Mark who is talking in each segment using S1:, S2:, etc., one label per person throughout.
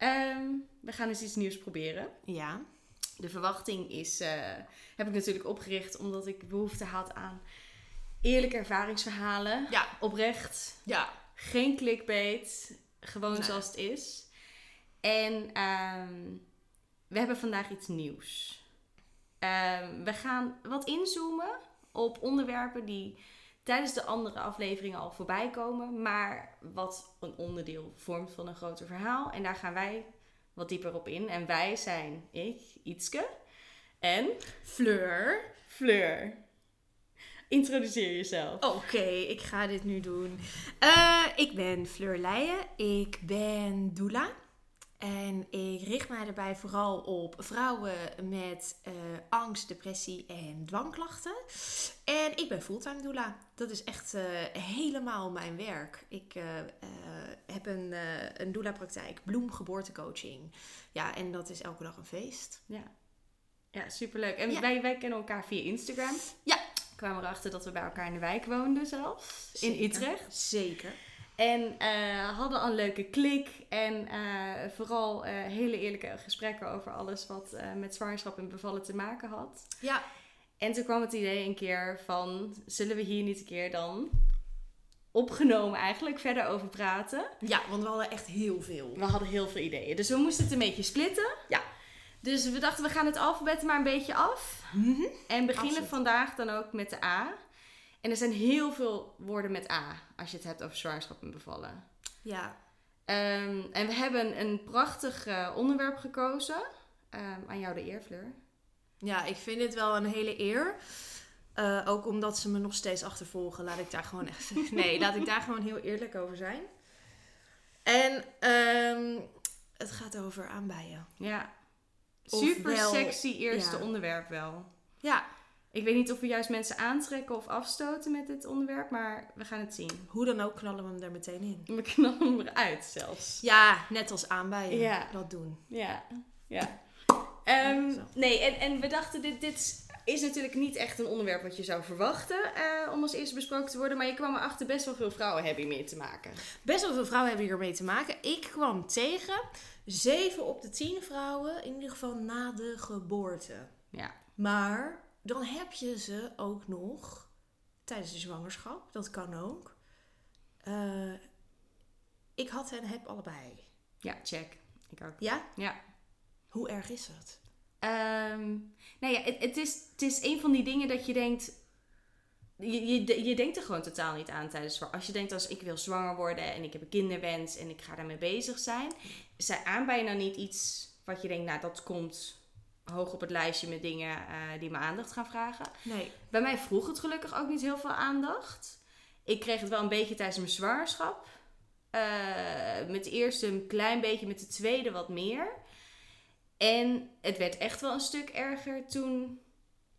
S1: Ehm, we gaan eens iets nieuws proberen.
S2: Ja.
S1: De verwachting is, eh, heb ik natuurlijk opgericht omdat ik behoefte had aan eerlijke ervaringsverhalen.
S2: Ja.
S1: Oprecht,
S2: Ja.
S1: geen clickbait, gewoon
S2: Nee.
S1: zoals het is. En ehm, we hebben vandaag iets nieuws. Ehm, we gaan wat inzoomen op onderwerpen die tijdens de andere afleveringen al voorbij komen, maar wat een onderdeel vormt van een groter verhaal. En daar gaan wij wat dieper op in. En wij zijn ik, Ietske, en
S2: Fleur.
S1: Fleur. Introduceer jezelf.
S2: Oké, ik ga dit nu doen. Eh, ik ben Fleur Leijen. Ik ben doula. En ik richt mij daarbij vooral op vrouwen met eh, angst, depressie en dwangklachten. En ik ben fulltime doula. Dat is echt eh, helemaal mijn werk. Ik eh, eh, heb een, eh een doula-praktijk, bloemgeboortecoaching. Ja, en dat is elke dag een feest.
S1: Ja, ja superleuk. En
S2: Ja.
S1: Wij, wij kennen elkaar via Instagram.
S2: Ja.
S1: Kwamen erachter dat we bij elkaar in de wijk woonden zelfs. In
S2: Zeker.
S1: Utrecht.
S2: Zeker.
S1: En eh, hadden al een leuke klik. En eh, vooral eh, hele eerlijke gesprekken over alles wat eh, met zwangerschap en bevallen te maken had.
S2: Ja,
S1: En toen kwam het idee een keer van, zullen we hier niet een keer dan opgenomen eigenlijk verder over praten?
S2: ja want we hadden echt heel veel.
S1: We hadden heel veel ideeën. Dus we moesten het een beetje splitten.
S2: Ja.
S1: Dus we dachten, we gaan het alfabet maar een beetje af. En beginnen
S2: Absoluut.
S1: vandaag dan ook met de A. En er zijn heel veel woorden met A als je het hebt over zwangerschap en bevallen.
S2: Ja,
S1: Ehm, en we hebben een prachtig eh, onderwerp gekozen. Ehm, aan jou de eer, Fleur.
S2: Ja, ik vind het wel een hele eer. Eh, ook omdat ze me nog steeds achtervolgen. Laat ik daar gewoon echt. Nee, laat ik daar gewoon heel eerlijk over zijn. En ehm, het gaat over aanbijen.
S1: Ja.
S2: Ofwel-
S1: Super sexy eerste
S2: ja.
S1: onderwerp wel.
S2: Ja,
S1: Ik weet niet of we juist mensen aantrekken of afstoten met dit onderwerp, maar we gaan het zien.
S2: hoe dan ook knallen we hem er meteen in.
S1: We knallen hem eruit zelfs.
S2: Ja, net als aanbijen.
S1: Ja.
S2: Dat doen.
S1: Ja, ja. Ehm,
S2: Zo.
S1: nee, en, en we dachten, dit, dit is- is natuurlijk niet echt een onderwerp wat je zou verwachten eh, om als eerste besproken te worden. Maar je kwam erachter best wel veel vrouwen hebben mee te maken.
S2: Best wel veel vrouwen hebben hiermee te maken. Ik kwam tegen 7 op de 10 vrouwen, in ieder geval na de geboorte.
S1: Ja.
S2: Maar dan heb je ze ook nog tijdens de zwangerschap. Dat kan ook. Eh, ik had en heb allebei.
S1: Ja, check. Ik ook.
S2: Ja?
S1: Ja.
S2: Hoe erg is dat?
S1: Ehm, nou ja, het, het, is, het is een van die dingen dat je denkt... Je, je, je denkt er gewoon totaal niet aan tijdens zwanger. Als je denkt als ik wil zwanger worden en ik heb een kinderwens en ik ga daarmee bezig zijn. Zij aan bijna niet iets wat je denkt, nou dat komt hoog op het lijstje met dingen eh, die me aandacht gaan vragen.
S2: Nee.
S1: Bij mij vroeg het gelukkig ook niet heel veel aandacht. Ik kreeg het wel een beetje tijdens mijn zwangerschap. Eh, met de eerste een klein beetje, met de tweede wat meer. En het werd echt wel een stuk erger toen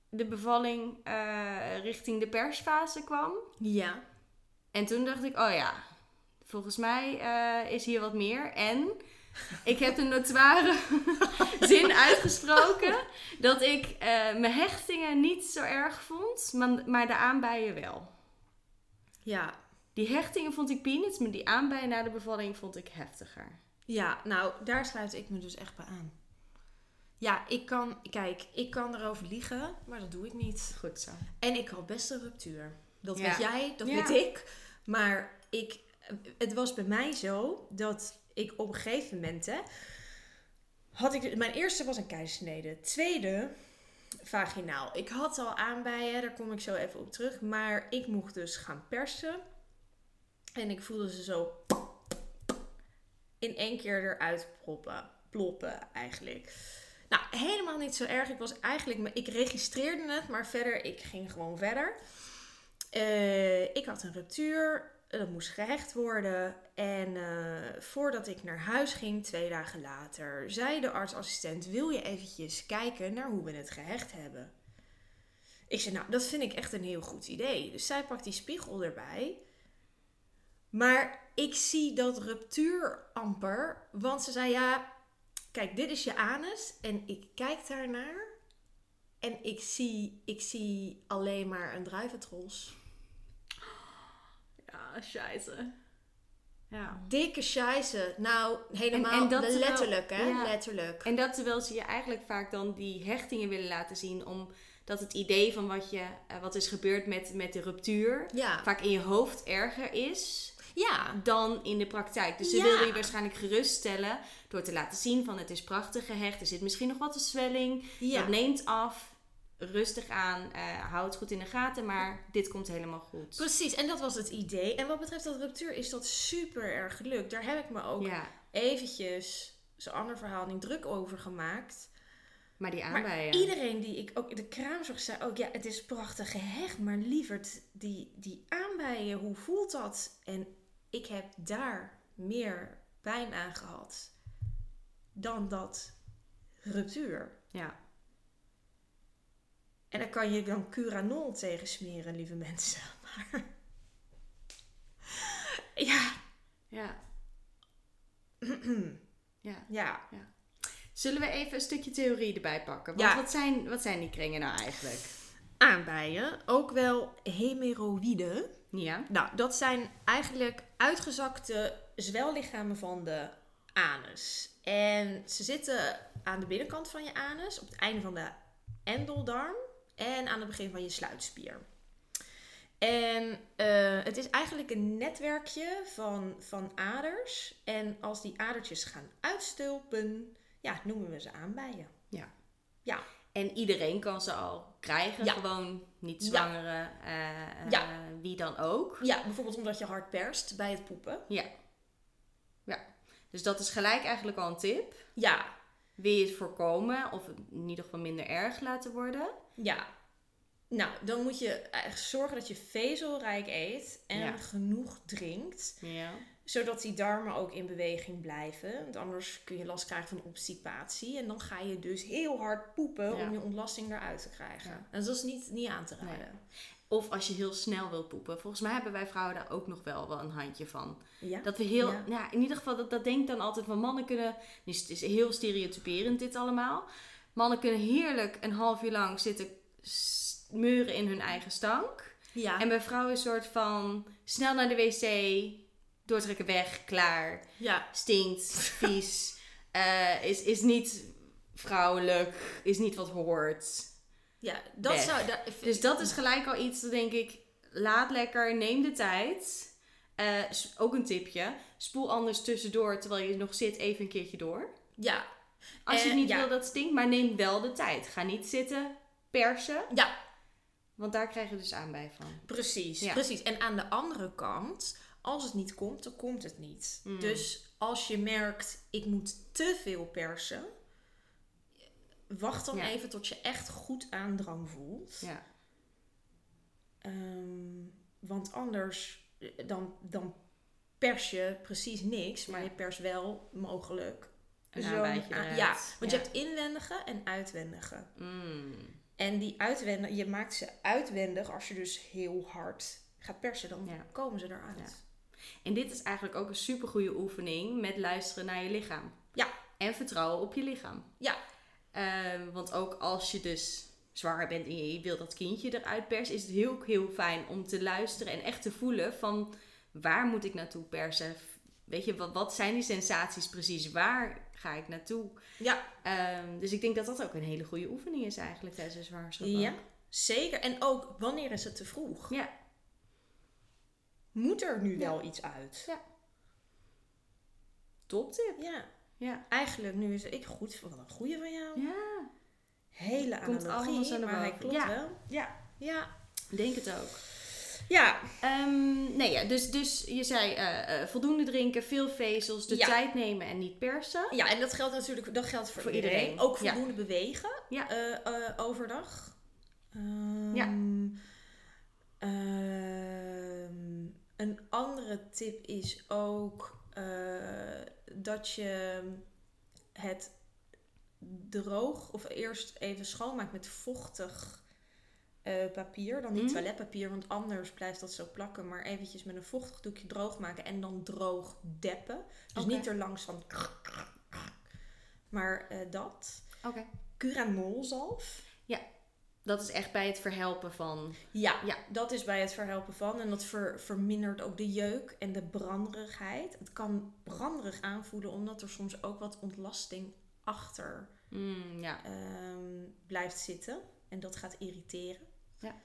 S1: de bevalling eh, richting de persfase kwam.
S2: Ja.
S1: En toen dacht ik, oh ja, volgens mij eh, is hier wat meer. En ik heb de notoire zin uitgesproken dat ik eh, mijn hechtingen niet zo erg vond, maar, maar de aanbijen wel.
S2: Ja.
S1: Die hechtingen vond ik peanuts, maar die aanbijen na de bevalling vond ik heftiger.
S2: Ja, nou, daar sluit ik me dus echt bij aan. Ja, ik kan, kijk, ik kan erover liegen, maar dat doe ik niet.
S1: Goed zo.
S2: En ik had best een ruptuur. Dat
S1: Ja.
S2: weet jij, dat
S1: Ja.
S2: weet ik. Maar ik, het was bij mij zo dat ik op een gegeven moment... Hè, had ik, mijn eerste was een keizersnede. Tweede, vaginaal. Ik had al aanbijen, daar kom ik zo even op terug. Maar ik mocht dus gaan persen. En ik voelde ze zo... In één keer eruit proppen. Ploppen, eigenlijk. Nou, helemaal niet zo erg. Ik was eigenlijk... Ik registreerde het, maar verder... Ik ging gewoon verder. Eh, ik had een ruptuur. Dat moest gehecht worden. En eh, voordat ik naar huis ging, twee dagen later, zei de artsassistent: Wil je eventjes kijken naar hoe we het gehecht hebben? Ik zei: Nou, dat vind ik echt een heel goed idee. Dus zij pakt die spiegel erbij. Maar ik zie dat ruptuur amper. Want ze zei: Ja, kijk, dit is je anus. En ik kijk daarnaar. En ik zie, ik zie alleen maar een druiventros.
S1: Ja, scheiße. Ja.
S2: Dikke scheisse. Nou, helemaal
S1: En- en dat terwijl-
S2: letterlijk, hè?
S1: ja.
S2: Letterlijk.
S1: En dat terwijl ze je eigenlijk vaak dan die hechtingen willen laten zien. Omdat het idee van wat, je, eh, wat is gebeurd met, met de ruptuur
S2: ja.
S1: vaak in je hoofd erger is
S2: Ja.
S1: dan in de praktijk. Dus ze
S2: Ja.
S1: willen je waarschijnlijk geruststellen door te laten zien van het is prachtig gehecht. Er zit misschien nog wat een zwelling.
S2: Ja.
S1: Dat neemt af. Rustig aan. eh hou het goed in de gaten. Maar dit komt helemaal goed.
S2: Precies, en dat was het idee. En wat betreft dat ruptuur is dat super erg gelukt. Daar heb ik me ook
S1: Ja,
S2: eventjes, zo'n ander verhaal, niet druk over gemaakt.
S1: maar die
S2: Maar
S1: aanbijen.
S2: iedereen die ik ook, de kraamzorg zei ook, ja, het is prachtig gehecht, maar lieverd, die, die aanbijen, hoe voelt dat? En ik heb daar meer pijn aan gehad dan dat ruptuur.
S1: Ja.
S2: En daar kan je dan curanol tegen smeren, lieve mensen. Maar ja,
S1: ja. ja.
S2: ja.
S1: Zullen we even een stukje theorie erbij pakken? Want
S2: Ja.
S1: wat, zijn, wat zijn die kringen nou eigenlijk?
S2: Aanbijen, ook wel hemeroïden.
S1: Ja.
S2: Nou, dat zijn eigenlijk uitgezakte zwellichamen van de anus. En ze zitten aan de binnenkant van je anus, op het einde van de endeldarm en aan het begin van je sluitspier. En eh, het is eigenlijk een netwerkje van, van aders. En als die adertjes gaan uitstulpen, ja, noemen we ze aanbijen.
S1: En iedereen kan ze al krijgen,
S2: Ja.
S1: gewoon niet
S2: Ja.
S1: zwangere, eh, eh, wie dan ook.
S2: Ja, bijvoorbeeld omdat je hard perst bij het poepen.
S1: Dus dat is gelijk eigenlijk al een tip.
S2: Ja,
S1: Wil je het voorkomen of het in ieder geval minder erg laten worden?
S2: Ja. Nou, dan moet je echt zorgen dat je vezelrijk eet en
S1: Ja.
S2: genoeg drinkt.
S1: Ja.
S2: Zodat die darmen ook in beweging blijven. Want anders kun je last krijgen van obstipatie. En dan ga je dus heel hard poepen
S1: Ja.
S2: om je ontlasting eruit te krijgen.
S1: Ja.
S2: En dat is niet, niet aan te raden.
S1: Of als je heel snel wil poepen. Volgens mij hebben wij vrouwen daar ook nog wel, wel een handje van.
S2: Ja?
S1: Dat we heel,
S2: Ja.
S1: ja. in ieder geval, dat, dat denk ik dan altijd van mannen kunnen. Nu is het is heel stereotyperend dit allemaal. Mannen kunnen heerlijk een half uur lang zitten smeuren in hun eigen stank.
S2: Ja.
S1: En bij vrouwen een soort van snel naar de wc, doortrekken weg, klaar,
S2: ja.
S1: stinkt, vies, eh, is, is niet vrouwelijk, is niet wat hoort.
S2: Ja, dat
S1: Weg.
S2: zou... dat-
S1: Dus dat is gelijk al iets, dat denk ik, laat lekker, neem de tijd. Eh, s- ook een tipje, spoel anders tussendoor terwijl je nog zit even een keertje door.
S2: Ja.
S1: Als je
S2: Eh,
S1: het niet
S2: ja.
S1: wil dat het stinkt, maar neem wel de tijd. Ga niet zitten persen,
S2: Ja,
S1: want daar krijg je dus aanbij van.
S2: Precies,
S1: Ja.
S2: precies. En aan de andere kant, als het niet komt, dan komt het niet.
S1: Mm.
S2: Dus als je merkt, ik moet te veel persen, wacht dan
S1: Ja.
S2: even tot je echt goed aandrang voelt.
S1: Ja.
S2: Ehm, want anders, eh, dan, dan pers je precies niks, maar
S1: Ja.
S2: je pers wel mogelijk.
S1: Een
S2: zo'n
S1: aanbijtje
S2: aan-
S1: eruit.
S2: Ja, want
S1: Ja.
S2: je hebt inwendige en uitwendige.
S1: Mm.
S2: En die uitwendig, je maakt ze uitwendig als je dus heel hard gaat persen, dan
S1: Ja.
S2: komen ze eruit.
S1: En dit is eigenlijk ook een supergoeie oefening met luisteren naar je lichaam.
S2: Ja.
S1: En vertrouwen op je lichaam.
S2: Ja.
S1: Ehm, want ook als je dus zwanger bent en je wil dat kindje eruit persen, is het heel, heel fijn om te luisteren en echt te voelen van waar moet ik naartoe persen? Weet je, wat, wat zijn die sensaties precies? Waar ga ik naartoe?
S2: Ja.
S1: Ehm, dus ik denk dat dat ook een hele goede oefening is eigenlijk tijdens een zwangerschap.
S2: Ja,
S1: ook.
S2: zeker. En ook, wanneer is het te vroeg?
S1: Ja.
S2: Moet er nu wel iets uit?
S1: Top tip.
S2: Ja,
S1: Ja.
S2: eigenlijk nu is ik goed. Wat een goeie van jou.
S1: Ja.
S2: Hele
S1: Komt
S2: analogie,
S1: allemaal zo naar
S2: maar hij
S1: boven.
S2: klopt
S1: Ja.
S2: wel.
S1: Ja.
S2: Ja.
S1: Denk het ook.
S2: Ja.
S1: Ehm, nee, ja, dus, dus je zei eh, eh, voldoende drinken, veel vezels, de
S2: Ja.
S1: tijd nemen en niet persen.
S2: ja, en dat geldt natuurlijk dat geldt voor,
S1: Voor
S2: iedereen.
S1: iedereen.
S2: Ook
S1: Ja.
S2: voldoende bewegen
S1: Ja.
S2: eh, eh, overdag. Ehm,
S1: Ja.
S2: ehm, een andere tip is ook eh, dat je het droog of eerst even schoonmaakt met vochtig eh, papier. Dan niet
S1: Mhm.
S2: toiletpapier, want anders blijft dat zo plakken. Maar eventjes met een vochtig doekje droog maken en dan droog deppen. Dus
S1: Oké.
S2: niet er langs van... Maar eh, dat.
S1: Oké.
S2: Curanolzalf.
S1: Dat is echt bij het verhelpen van.
S2: Ja,
S1: Ja.
S2: dat is bij het verhelpen van. En dat ver- vermindert ook de jeuk en de branderigheid. Het kan branderig aanvoelen omdat er soms ook wat ontlasting achter
S1: Mm, ja.
S2: ehm, blijft zitten. En dat gaat irriteren.
S1: Ja.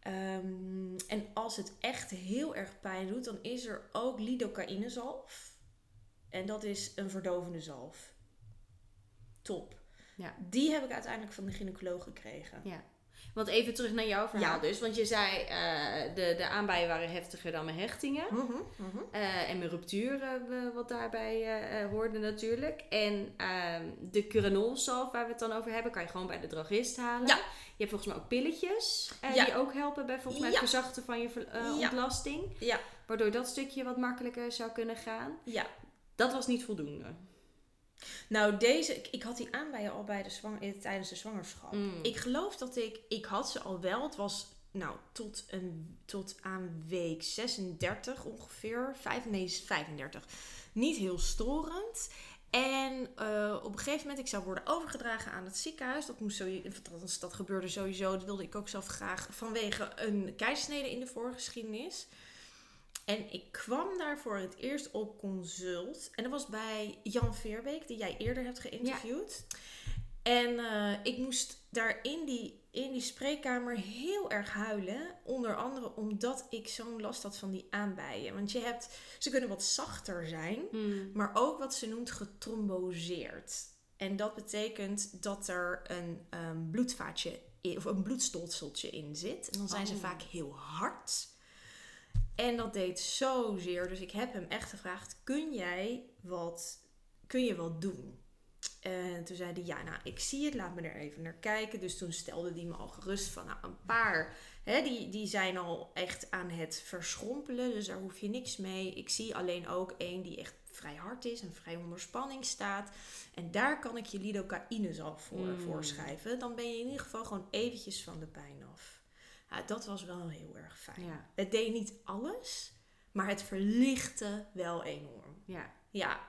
S2: Ehm, en als het echt heel erg pijn doet, dan is er ook lidocaïnezalf. En dat is een verdovende zalf. Top.
S1: Ja.
S2: Die heb ik uiteindelijk van de gynaecoloog gekregen.
S1: Want even terug naar jouw verhaal
S2: Ja.
S1: dus. Want je zei, eh, de, de aanbijen waren heftiger dan mijn hechtingen.
S2: Mhm, mhm.
S1: Eh, en mijn rupturen, eh, wat daarbij eh, eh, hoorde natuurlijk. En ehm, de curanolzalf, waar we het dan over hebben, kan je gewoon bij de drogist halen.
S2: Ja.
S1: Je hebt volgens mij ook pilletjes, eh,
S2: Ja.
S1: die ook helpen bij volgens mij het
S2: Ja.
S1: verzachten van je ver- eh,
S2: Ja.
S1: ontlasting.
S2: Ja.
S1: Waardoor dat stukje wat makkelijker zou kunnen gaan.
S2: Ja,
S1: Dat was niet voldoende.
S2: Nou, deze, ik, ik had die aan bij je al bij de zwang, eh, tijdens de zwangerschap.
S1: Mm.
S2: Ik geloof dat ik, ik had ze al wel. Het was nou tot, een, tot aan week 36 ongeveer. Vijf, nee, 35. Niet heel storend. En eh, op een gegeven moment, ik zou worden overgedragen aan het ziekenhuis. Dat, moest sowieso, dat, dat gebeurde sowieso. Dat wilde ik ook zelf graag vanwege een keizersnede in de voorgeschiedenis. En ik kwam daar voor het eerst op consult. En dat was bij Jan Veerbeek, die jij eerder hebt geïnterviewd. En eh, ik moest daar in die, in die spreekkamer heel erg huilen. Onder andere omdat ik zo'n last had van die aanbijen. Want je hebt, ze kunnen wat zachter zijn
S1: Mm.
S2: maar ook wat ze noemt getromboseerd. En dat betekent dat er een ehm, bloedvaatje i- of een bloedstolseltje in zit. En dan zijn ze
S1: Oh.
S2: vaak heel hard. En dat deed zozeer. Dus ik heb hem echt gevraagd: kun jij wat, kun je wat doen? En toen zei hij: Ja, nou, ik zie het, laat me er even naar kijken. Dus toen stelde hij me al gerust van: Nou, een paar, hè, die, die zijn al echt aan het verschrompelen. Dus daar hoef je niks mee. Ik zie alleen ook één die echt vrij hard is en vrij onder spanning staat. En daar kan ik je lidocaïnezalf voor
S1: Mm.
S2: voorschrijven. Dan ben je in ieder geval gewoon eventjes van de pijn af. Ja, dat was wel heel erg fijn.
S1: Ja,
S2: Het deed niet alles, maar het verlichtte wel enorm.
S1: ja.
S2: Ja,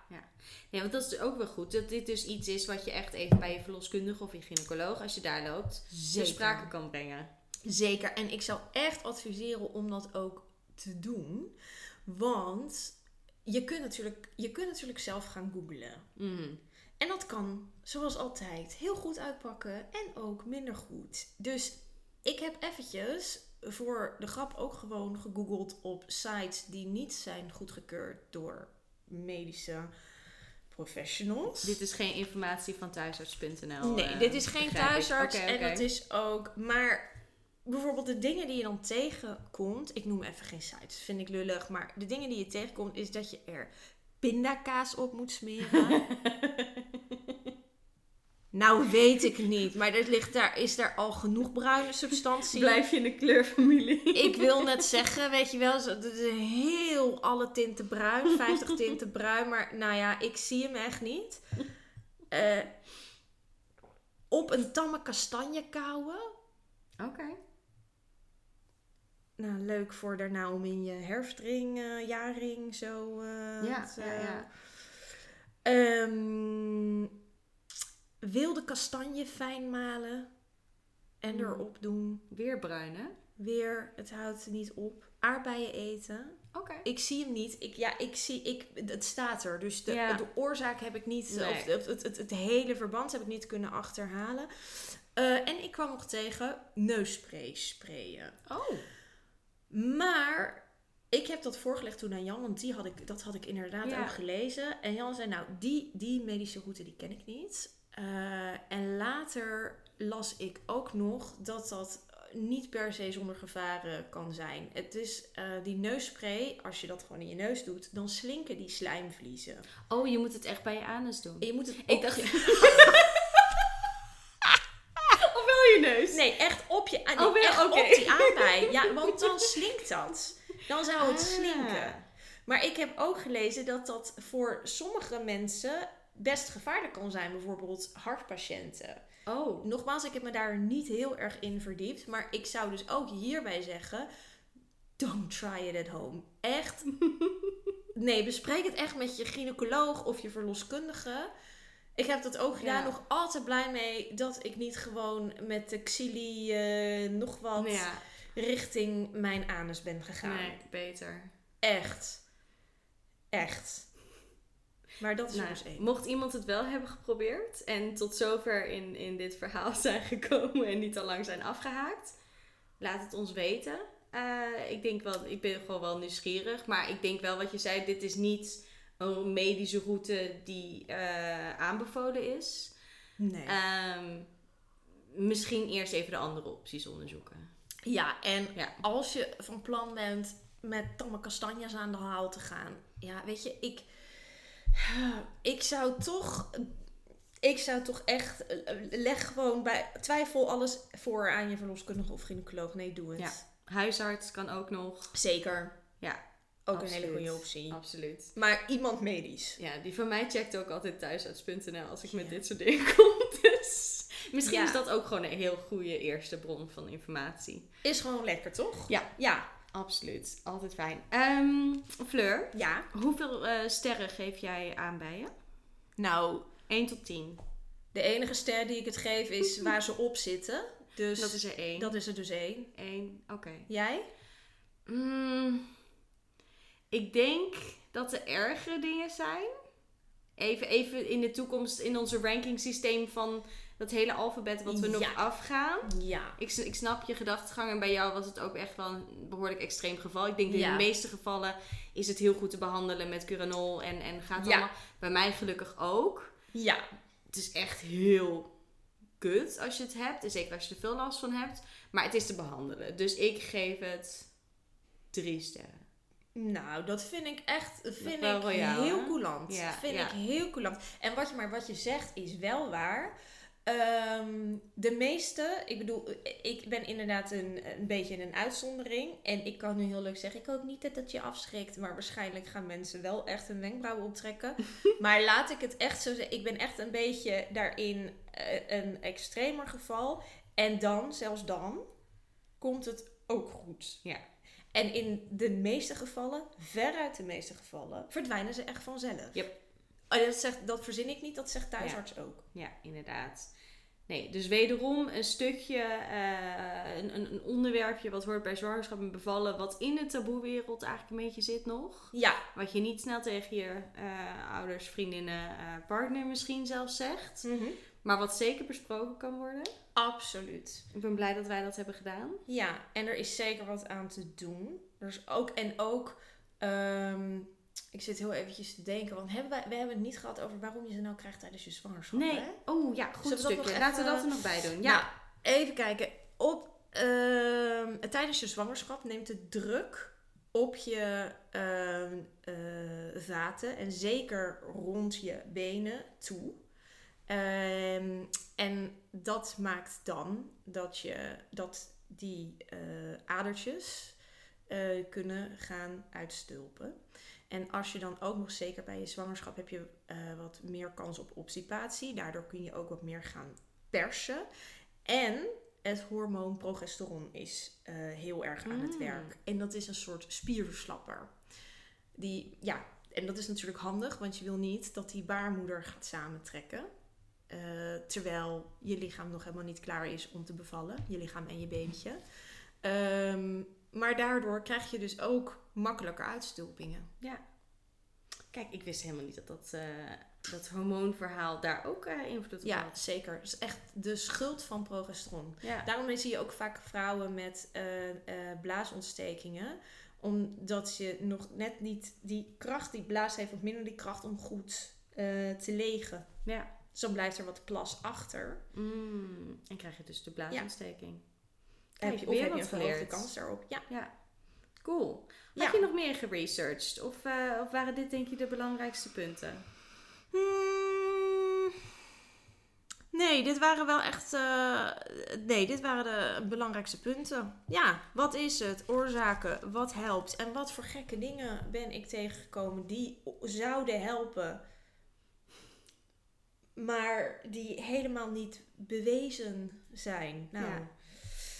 S1: Nee, want dat is ook wel goed. Dat dit dus iets is wat je echt even bij je verloskundige of je gynaecoloog, als je daar loopt, ter sprake
S2: zeker.
S1: kan brengen.
S2: Zeker. En ik zou echt adviseren om dat ook te doen. Want je kunt natuurlijk, je kunt natuurlijk zelf gaan googlen.
S1: Mhm.
S2: En dat kan, zoals altijd, heel goed uitpakken en ook minder goed. Dus ik heb eventjes voor de grap ook gewoon gegoogeld op sites die niet zijn goedgekeurd door medische professionals.
S1: Dit is geen informatie van thuisarts.nl.
S2: Nee,
S1: eh,
S2: dit is geen
S1: begrijp ik.
S2: thuisarts
S1: Oké, oké.
S2: en dat is ook. Maar bijvoorbeeld de dingen die je dan tegenkomt. Ik noem even geen sites, vind ik lullig. Maar de dingen die je tegenkomt is dat je er pindakaas op moet smeren. nou, weet ik niet. Maar dat ligt daar, is daar al genoeg bruine substantie.
S1: Blijf je in de kleurfamilie.
S2: Ik wil net zeggen, weet je wel, zo- het is heel alle tinten bruin, 50 tinten bruin, maar nou ja, ik zie hem echt niet. Eh, op een tamme kastanje kauwen.
S1: Oké.
S2: Nou, leuk voor daarna om in je herfstring, eh, jaarring zo. eh,
S1: Ja,
S2: te-
S1: ja, ja.
S2: Ehm, wilde kastanje fijn malen en
S1: Mm.
S2: erop doen.
S1: Weer bruin, hè?
S2: Weer, het houdt niet op. Aardbeien eten.
S1: Oké.
S2: Ik zie hem niet. Ik, ja, ik zie, ik, het staat er. Dus de,
S1: Ja.
S2: de oorzaak heb ik niet,
S1: Nee.
S2: of het, het, het, het hele verband heb ik niet kunnen achterhalen. Eh, en ik kwam nog tegen neusspray sprayen.
S1: Oh.
S2: Maar ik heb dat voorgelegd toen aan Jan, want die had ik, dat had ik inderdaad
S1: Ja.
S2: ook gelezen. En Jan zei, nou, die, die medische route die ken ik niet. Eh, en later las ik ook nog dat dat niet per se zonder gevaren kan zijn. Het is eh, die neusspray, als je dat gewoon in je neus doet, dan slinken die slijmvliezen.
S1: Oh, je moet het echt bij je anus doen. Oh.
S2: En je moet het
S1: Ik
S2: op
S1: dacht-
S2: je-
S1: Of wel je neus?
S2: Nee, echt op je aan,
S1: Oh, wel?
S2: echt
S1: Oké.
S2: op die aardbei. Ja, want dan slinkt dat. Dan zou het
S1: Ah.
S2: slinken. Maar ik heb ook gelezen dat dat voor sommige mensen best gevaarlijk kan zijn. Bijvoorbeeld hartpatiënten.
S1: Oh.
S2: Nogmaals, ik heb me daar niet heel erg in verdiept. Maar ik zou dus ook hierbij zeggen... Don't try it at home. Echt. Nee, bespreek het echt met je gynaecoloog of je verloskundige. Ik heb dat ook gedaan.
S1: Ja.
S2: Nog altijd blij mee dat ik niet gewoon met de xili eh, nog wat
S1: Nou Ja,
S2: richting mijn anus ben gegaan.
S1: nee, beter.
S2: Echt. Echt. Maar dat is
S1: Nou,
S2: dus één.
S1: mocht iemand het wel hebben geprobeerd en tot zover in, in dit verhaal zijn gekomen en niet al lang zijn afgehaakt, laat het ons weten. Eh, ik denk wel, ik ben gewoon wel nieuwsgierig, maar ik denk wel wat je zei, dit is niet een medische route die eh, aanbevolen is.
S2: Nee.
S1: Ehm, misschien eerst even de andere opties onderzoeken.
S2: ja, en
S1: Ja.
S2: als je van plan bent met tamme kastanjes aan de haal te gaan. Ja, weet je, ik... Ik zou toch... Ik zou toch echt... Leg gewoon bij... Twijfel alles voor aan je verloskundige of gynaecoloog. Nee, doe het.
S1: Ja. Huisarts kan ook nog.
S2: Zeker.
S1: Ja,
S2: Ook een
S1: absoluut.
S2: hele goede optie.
S1: absoluut.
S2: Maar iemand medisch.
S1: Ja, die van mij checkt ook altijd thuisarts.nl als ik met
S2: Ja.
S1: dit soort dingen kom. Dus misschien
S2: Ja.
S1: is dat ook gewoon een heel goede eerste bron van informatie.
S2: Is gewoon lekker, toch?
S1: Ja.
S2: Ja.
S1: Absoluut, altijd fijn. Ehm, Fleur,
S2: Ja.
S1: hoeveel eh, sterren geef jij aan bij je?
S2: Nou,
S1: 1 tot 10.
S2: de enige ster die ik het geef is waar ze op zitten. Dus
S1: Dat is er 1.
S2: dat is er dus één.
S1: 1, oké.
S2: Jij?
S1: Mm, ik denk dat er ergere dingen zijn. Even, even in de toekomst in onze ranking systeem van dat hele alfabet wat we
S2: Ja.
S1: nog afgaan.
S2: Ja.
S1: Ik, s- ik snap je gedachtegang en bij jou was het ook echt wel een behoorlijk extreem geval. Ik denk dat
S2: Ja.
S1: in de meeste gevallen is het heel goed te behandelen met Curanol en, en gaat het
S2: Ja.
S1: allemaal. Bij mij gelukkig ook.
S2: Ja.
S1: Het is echt heel kut als je het hebt. En zeker als je er veel last van hebt. Maar het is te behandelen. Dus ik geef het drie sterren.
S2: Nou, dat vind ik echt vind
S1: wel
S2: ik
S1: royaal,
S2: heel
S1: hè?
S2: coulant.
S1: Ja,
S2: vind
S1: ja.
S2: ik heel coulant. En wat je, maar wat je zegt is wel waar. Ehm, de meeste, ik bedoel, eh, ik ben inderdaad een, een beetje een uitzondering. En ik kan nu heel leuk zeggen, ik hoop niet dat dat je afschrikt. Maar waarschijnlijk gaan mensen wel echt hun wenkbrauwen optrekken. maar laat ik het echt zo zeggen, ik ben echt een beetje daarin eh, een extremer geval. En dan, zelfs dan, komt het ook goed. En in de meeste gevallen, veruit de meeste gevallen, verdwijnen ze echt vanzelf.
S1: Yep.
S2: Oh, dat, zegt, dat verzin ik niet, dat zegt thuisarts ook.
S1: Ja, inderdaad. Nee, dus wederom een stukje, eh, een, een, een onderwerpje wat hoort bij zwangerschap en bevallen. Wat in de taboewereld eigenlijk een beetje zit nog.
S2: Ja.
S1: Wat je niet snel tegen je eh, ouders, vriendinnen, eh, partner misschien zelfs
S2: Hm.
S1: zegt.
S2: Mhm.
S1: Maar wat zeker besproken kan worden.
S2: Absoluut.
S1: Ik ben blij dat wij dat hebben gedaan.
S2: Ja, en er is zeker wat aan te doen. Er is ook, en ook, ehm, ik zit heel eventjes te denken, want hebben wij, we hebben het niet gehad over waarom je ze nou krijgt tijdens je zwangerschap.
S1: Nee.
S2: hè?
S1: Oh ja, goed
S2: Zullen we dat
S1: stukje.
S2: nog
S1: Laten we
S2: even- Nou.
S1: dat er nog bij doen. Ja.
S2: Ja. even kijken. Op, ehm, tijdens je zwangerschap neemt de druk op je ehm, eh, vaten en zeker rond je benen toe. Ehm, en dat maakt dan dat, je, dat die eh, adertjes eh, kunnen gaan uitstulpen. En als je dan ook nog zeker bij je zwangerschap heb je eh, wat meer kans op obstipatie. Daardoor kun je ook wat meer gaan persen. En het hormoon progesteron is eh, heel erg aan het
S1: Mm.
S2: werk. En dat is een soort spierverslapper. Die, ja, en dat is natuurlijk handig, want je wil niet dat die baarmoeder gaat samentrekken. Eh, terwijl je lichaam nog helemaal niet klaar is om te bevallen. Je lichaam en je babytje. Ehm, maar daardoor krijg je dus ook makkelijker uitstulpingen.
S1: Kijk, ik wist helemaal niet dat dat, eh, dat hormoonverhaal daar ook eh, invloed op
S2: Ja,
S1: had.
S2: zeker. Het is echt de schuld van progesteron.
S1: Ja.
S2: Daarom zie je ook vaak vrouwen met eh, eh, blaasontstekingen. Omdat je nog net niet die kracht die blaas heeft, of minder die kracht om goed eh, te legen.
S1: ja.
S2: Dus dan blijft er wat plas achter.
S1: Mm, en krijg je dus de blaasontsteking. Kijk,
S2: Heb je,
S1: weer
S2: of heb
S1: wat
S2: je een verhoogde
S1: geleerd.
S2: kans daarop. Ja.
S1: Cool. Had
S2: Ja.
S1: je nog meer geresearched? Of, eh, of waren dit denk je de belangrijkste punten?
S2: Hmm. Nee, dit waren wel echt. eh, nee, dit waren de belangrijkste punten. Ja, wat is het? Oorzaken, wat helpt? En wat voor gekke dingen ben ik tegengekomen die o- zouden helpen, maar die helemaal niet bewezen zijn? Nou,
S1: Ja.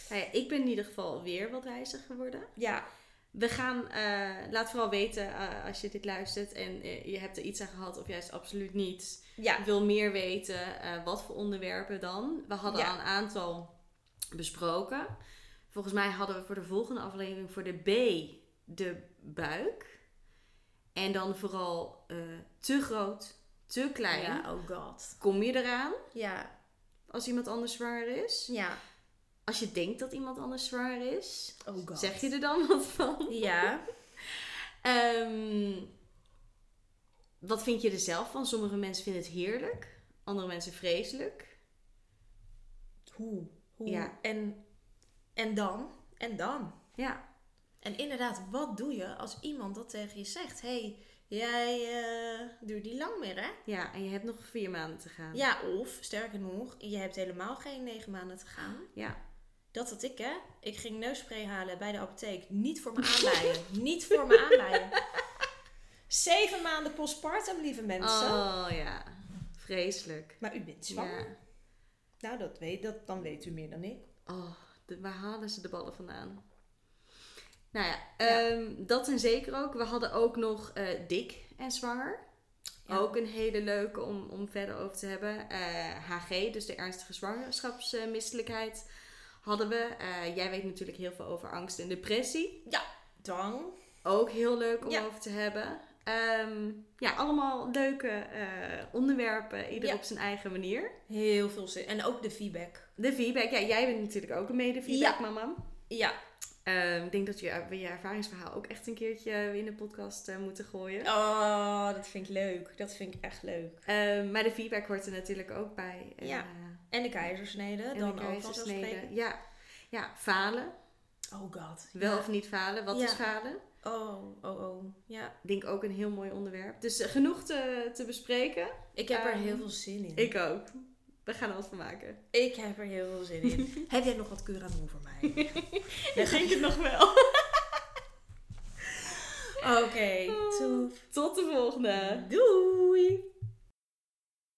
S1: Nou ja, ik ben in ieder geval weer wat wijzer geworden.
S2: ja.
S1: We gaan, eh, laat vooral weten eh, als je dit luistert en eh, je hebt er iets aan gehad of juist absoluut niets.
S2: Ja,
S1: Ik wil meer weten, eh, wat voor onderwerpen dan? We hadden
S2: Ja.
S1: al een aantal besproken. Volgens mij hadden we voor de volgende aflevering voor de B de buik. En dan vooral eh, te groot, te klein.
S2: ja, oh god.
S1: Kom je eraan
S2: Ja,
S1: als iemand anders zwanger is?
S2: ja.
S1: Als je denkt dat iemand anders zwanger is,
S2: Oh god.
S1: zeg je er dan wat van?
S2: Ja,
S1: Ehm, wat vind je er zelf van? Sommige mensen vinden het heerlijk, andere mensen vreselijk.
S2: hoe? hoe?
S1: Ja.
S2: En, en dan? En dan?
S1: Ja,
S2: En inderdaad, wat doe je als iemand dat tegen je zegt? hey, jij eh duurt die lang meer, hè?
S1: ja, en je hebt nog vier maanden te gaan.
S2: Ja, of sterker nog, je hebt helemaal geen negen maanden te gaan.
S1: Ja.
S2: Dat had ik, hè? Ik ging neusspray halen bij de apotheek. Niet voor me aanleiden. Niet voor me aanleiden. Zeven maanden postpartum, lieve mensen.
S1: Oh ja, vreselijk.
S2: Maar u bent zwanger.
S1: Ja.
S2: Nou, dat weet, dat, dan weet u meer dan ik.
S1: Oh, de- waar halen ze de ballen vandaan? Nou ja,
S2: Ja.
S1: ehm, dat en zeker ook. We hadden ook nog eh, dik en zwanger.
S2: Ja.
S1: Ook een hele leuke om, om verder over te hebben. Eh, HG, dus de ernstige zwangerschapsmisselijkheid, hadden we. Eh, jij weet natuurlijk heel veel over angst en depressie.
S2: Dan.
S1: Ook heel leuk om
S2: Ja.
S1: over te hebben. Ehm, ja, allemaal leuke eh, onderwerpen, ieder
S2: Ja.
S1: op zijn eigen manier.
S2: Heel veel zin. En ook de feedback.
S1: De feedback, ja, jij bent natuurlijk ook een mede-feedback, mama.
S2: Ja.
S1: Ehm, ik denk dat je, we je ervaringsverhaal ook echt een keertje in de podcast eh, moeten gooien.
S2: Oh, dat vind ik leuk. Dat vind ik echt leuk.
S1: Ehm, maar de feedback hoort er natuurlijk ook bij. En,
S2: Ja,
S1: eh,
S2: En de keizersnede.
S1: en
S2: dan
S1: de
S2: ook
S1: keizersnede.
S2: vanzelfsprekend.
S1: Ja. ja, falen.
S2: Oh god.
S1: Wel
S2: Ja.
S1: of niet falen. Wat
S2: Ja.
S1: is falen?
S2: Oh, oh, oh. Ja.
S1: Ik denk ook een heel mooi onderwerp. Dus eh, genoeg te, te bespreken.
S2: Ik heb er
S1: Ehm,
S2: heel veel zin in.
S1: Ik ook. We gaan er wat van maken.
S2: Ik heb er heel veel zin in. heb jij nog wat Curamoe voor mij?
S1: Ik denk het nog wel.
S2: Oké, okay,
S1: Oh, Tot de volgende.
S2: Doei!